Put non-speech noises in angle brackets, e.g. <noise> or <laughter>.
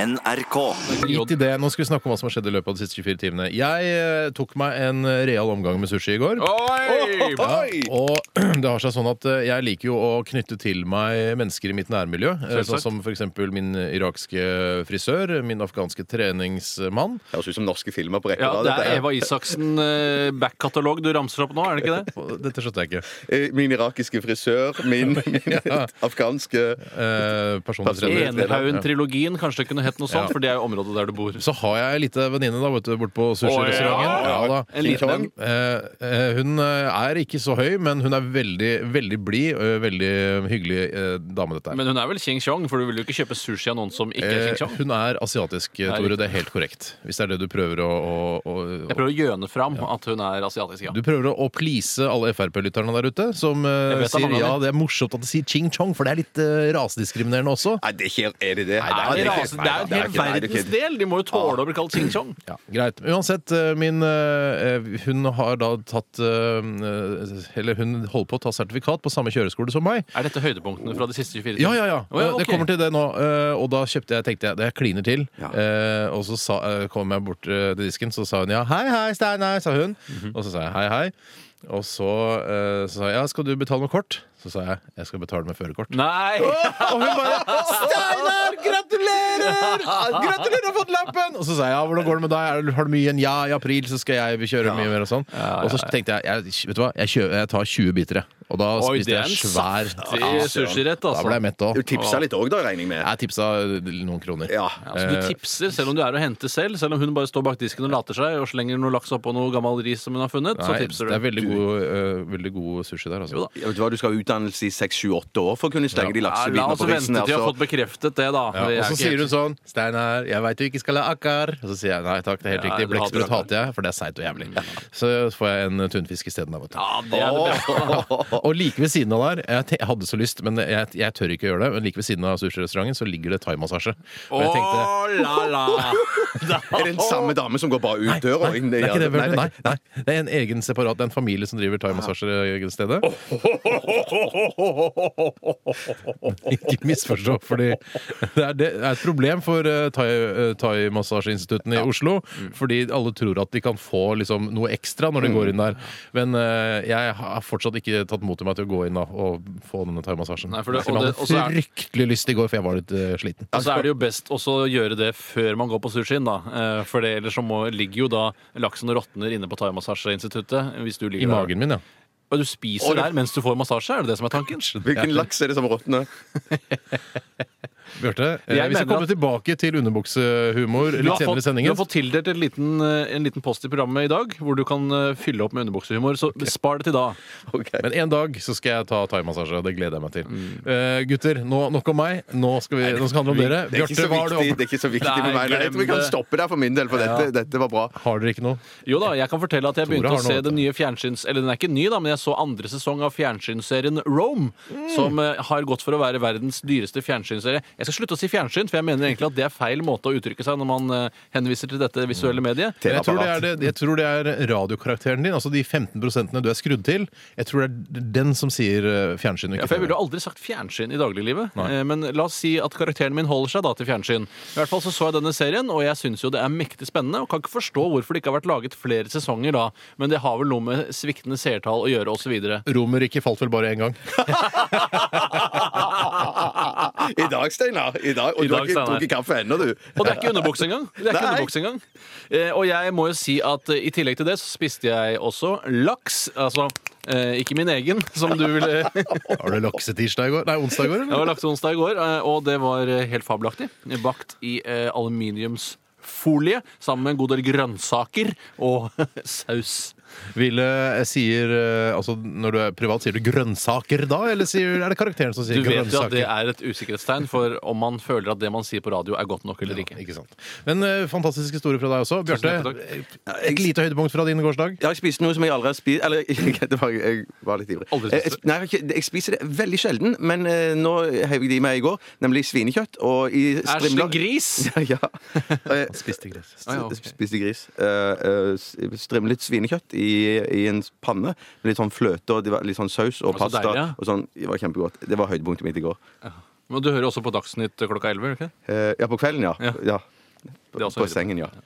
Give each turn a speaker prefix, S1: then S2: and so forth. S1: NRK.
S2: Drit i det. Nå skal vi snakke om hva som har skjedd i løpet av de siste 24 timene. Jeg eh, tok meg en real omgang med sushi i går.
S3: Oi!
S2: Ja, og <clears throat> det har seg sånn at eh, jeg liker jo å knytte til meg mennesker i mitt nærmiljø. eh,
S3: Selvsagt.
S2: Sånn som f.eks. min irakske frisør, min afghanske treningsmann.
S4: Det høres ut som norske filmer på
S3: <laughs>
S4: rekke
S3: Ja,
S4: og rad.
S3: det
S4: dette
S3: er
S4: her.
S3: Eva Isaksen eh, back-katalog du ramser opp nå, er det ikke det?
S2: Og Dette skjønte jeg ikke.
S4: Eh, Min irakiske frisør,
S3: <laughs>
S4: min, min afghanske
S2: Eh, personlig trener.
S3: Enerhaugen-trilogien, kanskje det kunne hett noe sånt,
S2: Ja.
S3: for det er jo området der du bor.
S2: Så har jeg ei lita venninne da, vet du, bort på sushirestauranten.
S3: Å, ja.
S2: Ja, da.
S3: En liten en.
S2: Eh, eh, hun eh, er ikke så høy, men hun er veldig, veldig blid. eh, Veldig hyggelig eh, dame, dette her.
S3: Men hun er vel Ching Chong, for du vil jo ikke kjøpe sushi av noen som ikke er Ching
S2: Eh,
S3: Chong.
S2: hun er asiatisk, eh,
S3: Nei,
S2: Tore.
S3: riktig.
S2: Det er helt korrekt. Hvis det er det du prøver å, å, å
S3: Jeg prøver å gjøne fram at hun er asiatisk, ja.
S2: Du prøver å, å please alle Frp-lytterne der ute, som eh,
S3: Jeg vet det er
S2: sier
S3: mange av
S2: ja,
S3: dem.
S2: det er morsomt at de sier ching chong, for det er litt eh, rasediskriminerende også.
S4: Nei, det er ikke Er det det? Nei,
S3: Er altså, det,
S4: ikke-
S3: rase- det er jo en
S4: nei,
S3: hel
S4: ikke- nei, det er ikke-
S3: verdensdel! De må jo tåle å bli kalt Ching Chong.
S2: Ja, greit. Men Uansett, eh, min eh, Hun har da tatt eh, Eller hun holder på å ta sertifikat på samme kjøreskole som meg.
S3: Er dette høydepunktene fra de siste 24
S2: Ja, ja, ja.
S3: Å, ja, ok.
S2: Det kommer til det nå. eh, Og da kjøpte jeg, tenkte jeg det kliner til.
S4: Ja.
S2: Eh, Og så sa, eh, kom jeg bort eh, til disken, så sa hun ja. Hei, hei, Steinar, sa hun.
S3: Mhm.
S2: Og så sa jeg hei, hei. Og så, eh, så sa jeg ja, skal du betale med kort? Så sa jeg jeg skal betale med førerkort.
S3: <laughs> Nei!
S2: Og hun bare 'Steinar, gratulerer! Gratulerer, du har fått lappen!' Og så sa jeg ja, 'Hvordan går det med deg? Er du- Har du mye igjen? Ja, i april så skal jeg kjøre mye mer.' Og sånn Og så tenkte jeg, jeg 'Vet du hva, jeg, kjø, jeg tar 20 biter, jeg.' Og da
S3: Oi,
S2: spiste
S3: det er
S2: jeg
S3: en
S2: svær
S3: saftig sushirett,
S2: Da ble jeg
S3: altså.
S2: mett òg.
S4: Du tipsa litt òg, da, regner jeg med?
S2: Jeg tipsa noen kroner.
S4: Ja.
S3: Ja, så
S2: Eh,
S3: du tipser, selv om du er å hente selv, selv om hun bare står bak disken og later seg og slenger noe laks oppå noe gammel ris som hun har funnet, så
S2: Nei,
S3: tipser
S2: Det er
S3: du.
S2: veldig god, eh, veldig god sushi der, altså.
S3: Jo da.
S4: Ja, vet du hva, du skal ha utdannelse i 6-7-8 år for å kunne stenge de
S3: Ja, la
S4: laksebitene
S3: oss
S4: på
S3: vente
S4: risen.
S3: til vi har
S4: altså.
S3: fått bekreftet det, da.
S2: Ja,
S3: Det er
S2: og så
S3: ikke
S2: sier
S3: helt-
S2: hun sånn 'Steinar, jeg veit du ikke skal ha akkar.' Og så sier jeg nei takk, det er helt
S3: Ja,
S2: riktig.
S3: du hater
S2: Blekksprut
S3: akkar.
S2: hater jeg, for det er seigt og jævlig. Så får jeg en tunfisk isteden, da, vet du.
S3: Ja, det er det beste.
S2: Og like ved siden av der Jeg, te- jeg hadde så lyst, men jeg, jeg tør ikke å gjøre det. Men like ved siden av sushirestauranten så ligger det thaimassasje. Og jeg tenkte
S3: Å, la, la.
S4: Er det den samme dame som går bare ut døra? og inn
S2: det er ikke det,
S4: Nei,
S2: Bjørn. Nei, nei, det er en egen separat Det er en familie som driver thaimassasjestedet. <laughs> Ikke misforstå, fordi det er, det er et problem for eh, thai- eh, thaimassasjeinstituttene i Oslo.
S3: Mm.
S2: Fordi alle tror at de kan få liksom, noe ekstra når de går inn
S3: Mm.
S2: der. Men eh, jeg har fortsatt ikke tatt mot til meg til å gå inn da, og få denne thaimassasjen.
S3: Nei, for det-
S2: Selv om
S3: og
S2: jeg
S3: det- og så er-
S2: hadde fryktelig lyst i går, for jeg var litt eh, sliten.
S3: Og så er det jo best også å gjøre det før man går på sushien, da. Eh, For det, ellers så må, ligger jo da laksen og råtner inne på thaimassasjeinstituttet. Hvis du ligger
S2: I
S3: der.
S2: magen min, ja.
S3: Og du spiser
S4: Oi.
S3: der mens du får massasje? Er det det som er tanken?
S4: Hvilken laks er det som råtner?
S2: Bjarte, eh,
S3: Jeg
S2: vi skal
S3: mener
S2: komme
S3: at-
S2: tilbake til underbuksehumor
S3: Du
S2: litt senere
S3: har, fått,
S2: i
S3: du har
S2: sendingen.
S3: fått tildelt en liten, eh, en liten post i programmet i dag, hvor du kan eh, fylle opp med underbuksehumor. Så spar det til da.
S4: Ok.
S2: Men en dag så skal jeg ta thaimassasje. Det gleder jeg meg til.
S3: Mm.
S2: Eh, gutter, nå, nok om meg. Nå skal, vi, nå skal det handle om dere.
S4: Det er ikke
S2: Bjarte,
S4: så
S2: hva har du
S4: viktig,
S2: opp?
S4: det er ikke så viktig
S3: Nei,
S4: med meg. Jeg tror
S3: glem
S4: vi kan
S3: det.
S4: stoppe der for min del, for dette, dette var bra.
S2: Har dere ikke noe?
S3: Jo da, jeg kan fortelle at jeg
S2: Tore
S3: begynte
S2: har noe,
S3: å se
S2: vet
S3: den
S2: du.
S3: nye fjernsyns... Eller den er ikke ny, da, men jeg så andre sesong av fjernsynsserien Rome.
S2: Mm.
S3: Som eh, har gått for å være verdens dyreste fjernsynsserie. Jeg skal slutte å si fjernsyn, for jeg mener egentlig at det er feil måte å uttrykke seg når man eh, henviser til dette visuelle mediet.
S2: Jeg tror, det er
S4: Teleapparat.
S2: det, jeg tror det er radiokarakteren din, altså de 15 du er skrudd til. Jeg tror det er den som sier eh, fjernsyn. og
S3: Ja,
S2: ikke
S3: for Jeg
S2: TV.
S3: ville jo aldri sagt fjernsyn i dagliglivet.
S2: Nei.
S3: Eh, Men la oss si at karakteren min holder seg da til fjernsyn. I hvert fall så så jeg denne serien, og jeg syns jo det er mektig spennende. Og kan ikke forstå hvorfor det ikke har vært laget flere sesonger da. Men det har vel noe med sviktende seertall å gjøre, osv.
S2: Romerriket falt vel bare én
S3: <laughs>
S2: gang.
S4: I dag, Steinar. I dag.
S3: I
S4: Og du
S3: dag,
S4: har ikke
S3: Steinar.
S4: drukket kaffe ennå, du.
S3: Og det er ikke underbukse engang. Det er ikke
S4: Nei.
S3: underbukse engang. Eh, og jeg må jo si at eh, i tillegg til det så spiste jeg også laks. Altså eh, ikke min egen, som du ville Det
S2: Har du laksetirsdag i går? Nei, onsdag i går? eller?
S3: var lakseonsdag i går, eh, og det var eh, helt fabelaktig. Bakt i eh, aluminiumsfolie sammen med en god del grønnsaker og <laughs> saus.
S2: Ville eh, sier eh, Altså, når du er privat, sier du grønnsaker da, eller sier, er det karakteren som sier
S3: Du vet jo at det
S2: grønnsaker?
S3: er et usikkerhetstegn for om man føler at det man sier på radio, er godt nok eller ikke.
S2: Ikke sant. Men eh, fantastisk historie fra deg også.
S3: Tusen
S2: Bjarte,
S3: hjertelig
S2: et lite høydepunkt fra din gårsdag?
S4: <laughs> Jeg har spist noe som jeg aldri har spist Eller <laughs> det var, jeg var litt ivrig. Eh,
S3: Aldri
S4: jeg,
S3: spist det?
S4: nei, jeg, har ikke- jeg spiser det veldig sjelden, men eh, nå heiv jeg det i meg i går. Nemlig svinekjøtt. Og i
S3: Æsj,
S4: strimler.
S3: det gris!
S4: <laughs> ja. Eh,
S2: Spiste gress.
S3: Ah, ja, ok.
S4: Spiste gris. Eh, eh, s- strimlet svinekjøtt i, i en panne. Litt sånn fløte og det var litt sånn saus og
S3: Og så
S4: pasta.
S3: deilig, ja.
S4: og sånn, det var kjempegodt. Det var høydepunktet mitt i går. Men du hører også på Dagsnytt klokka 11, gjør du ikke? det?
S3: Eh, ja, på kvelden, ja.
S4: Ja.
S3: ja.
S4: Det er også
S3: På
S4: høyre.
S3: sengen, ja.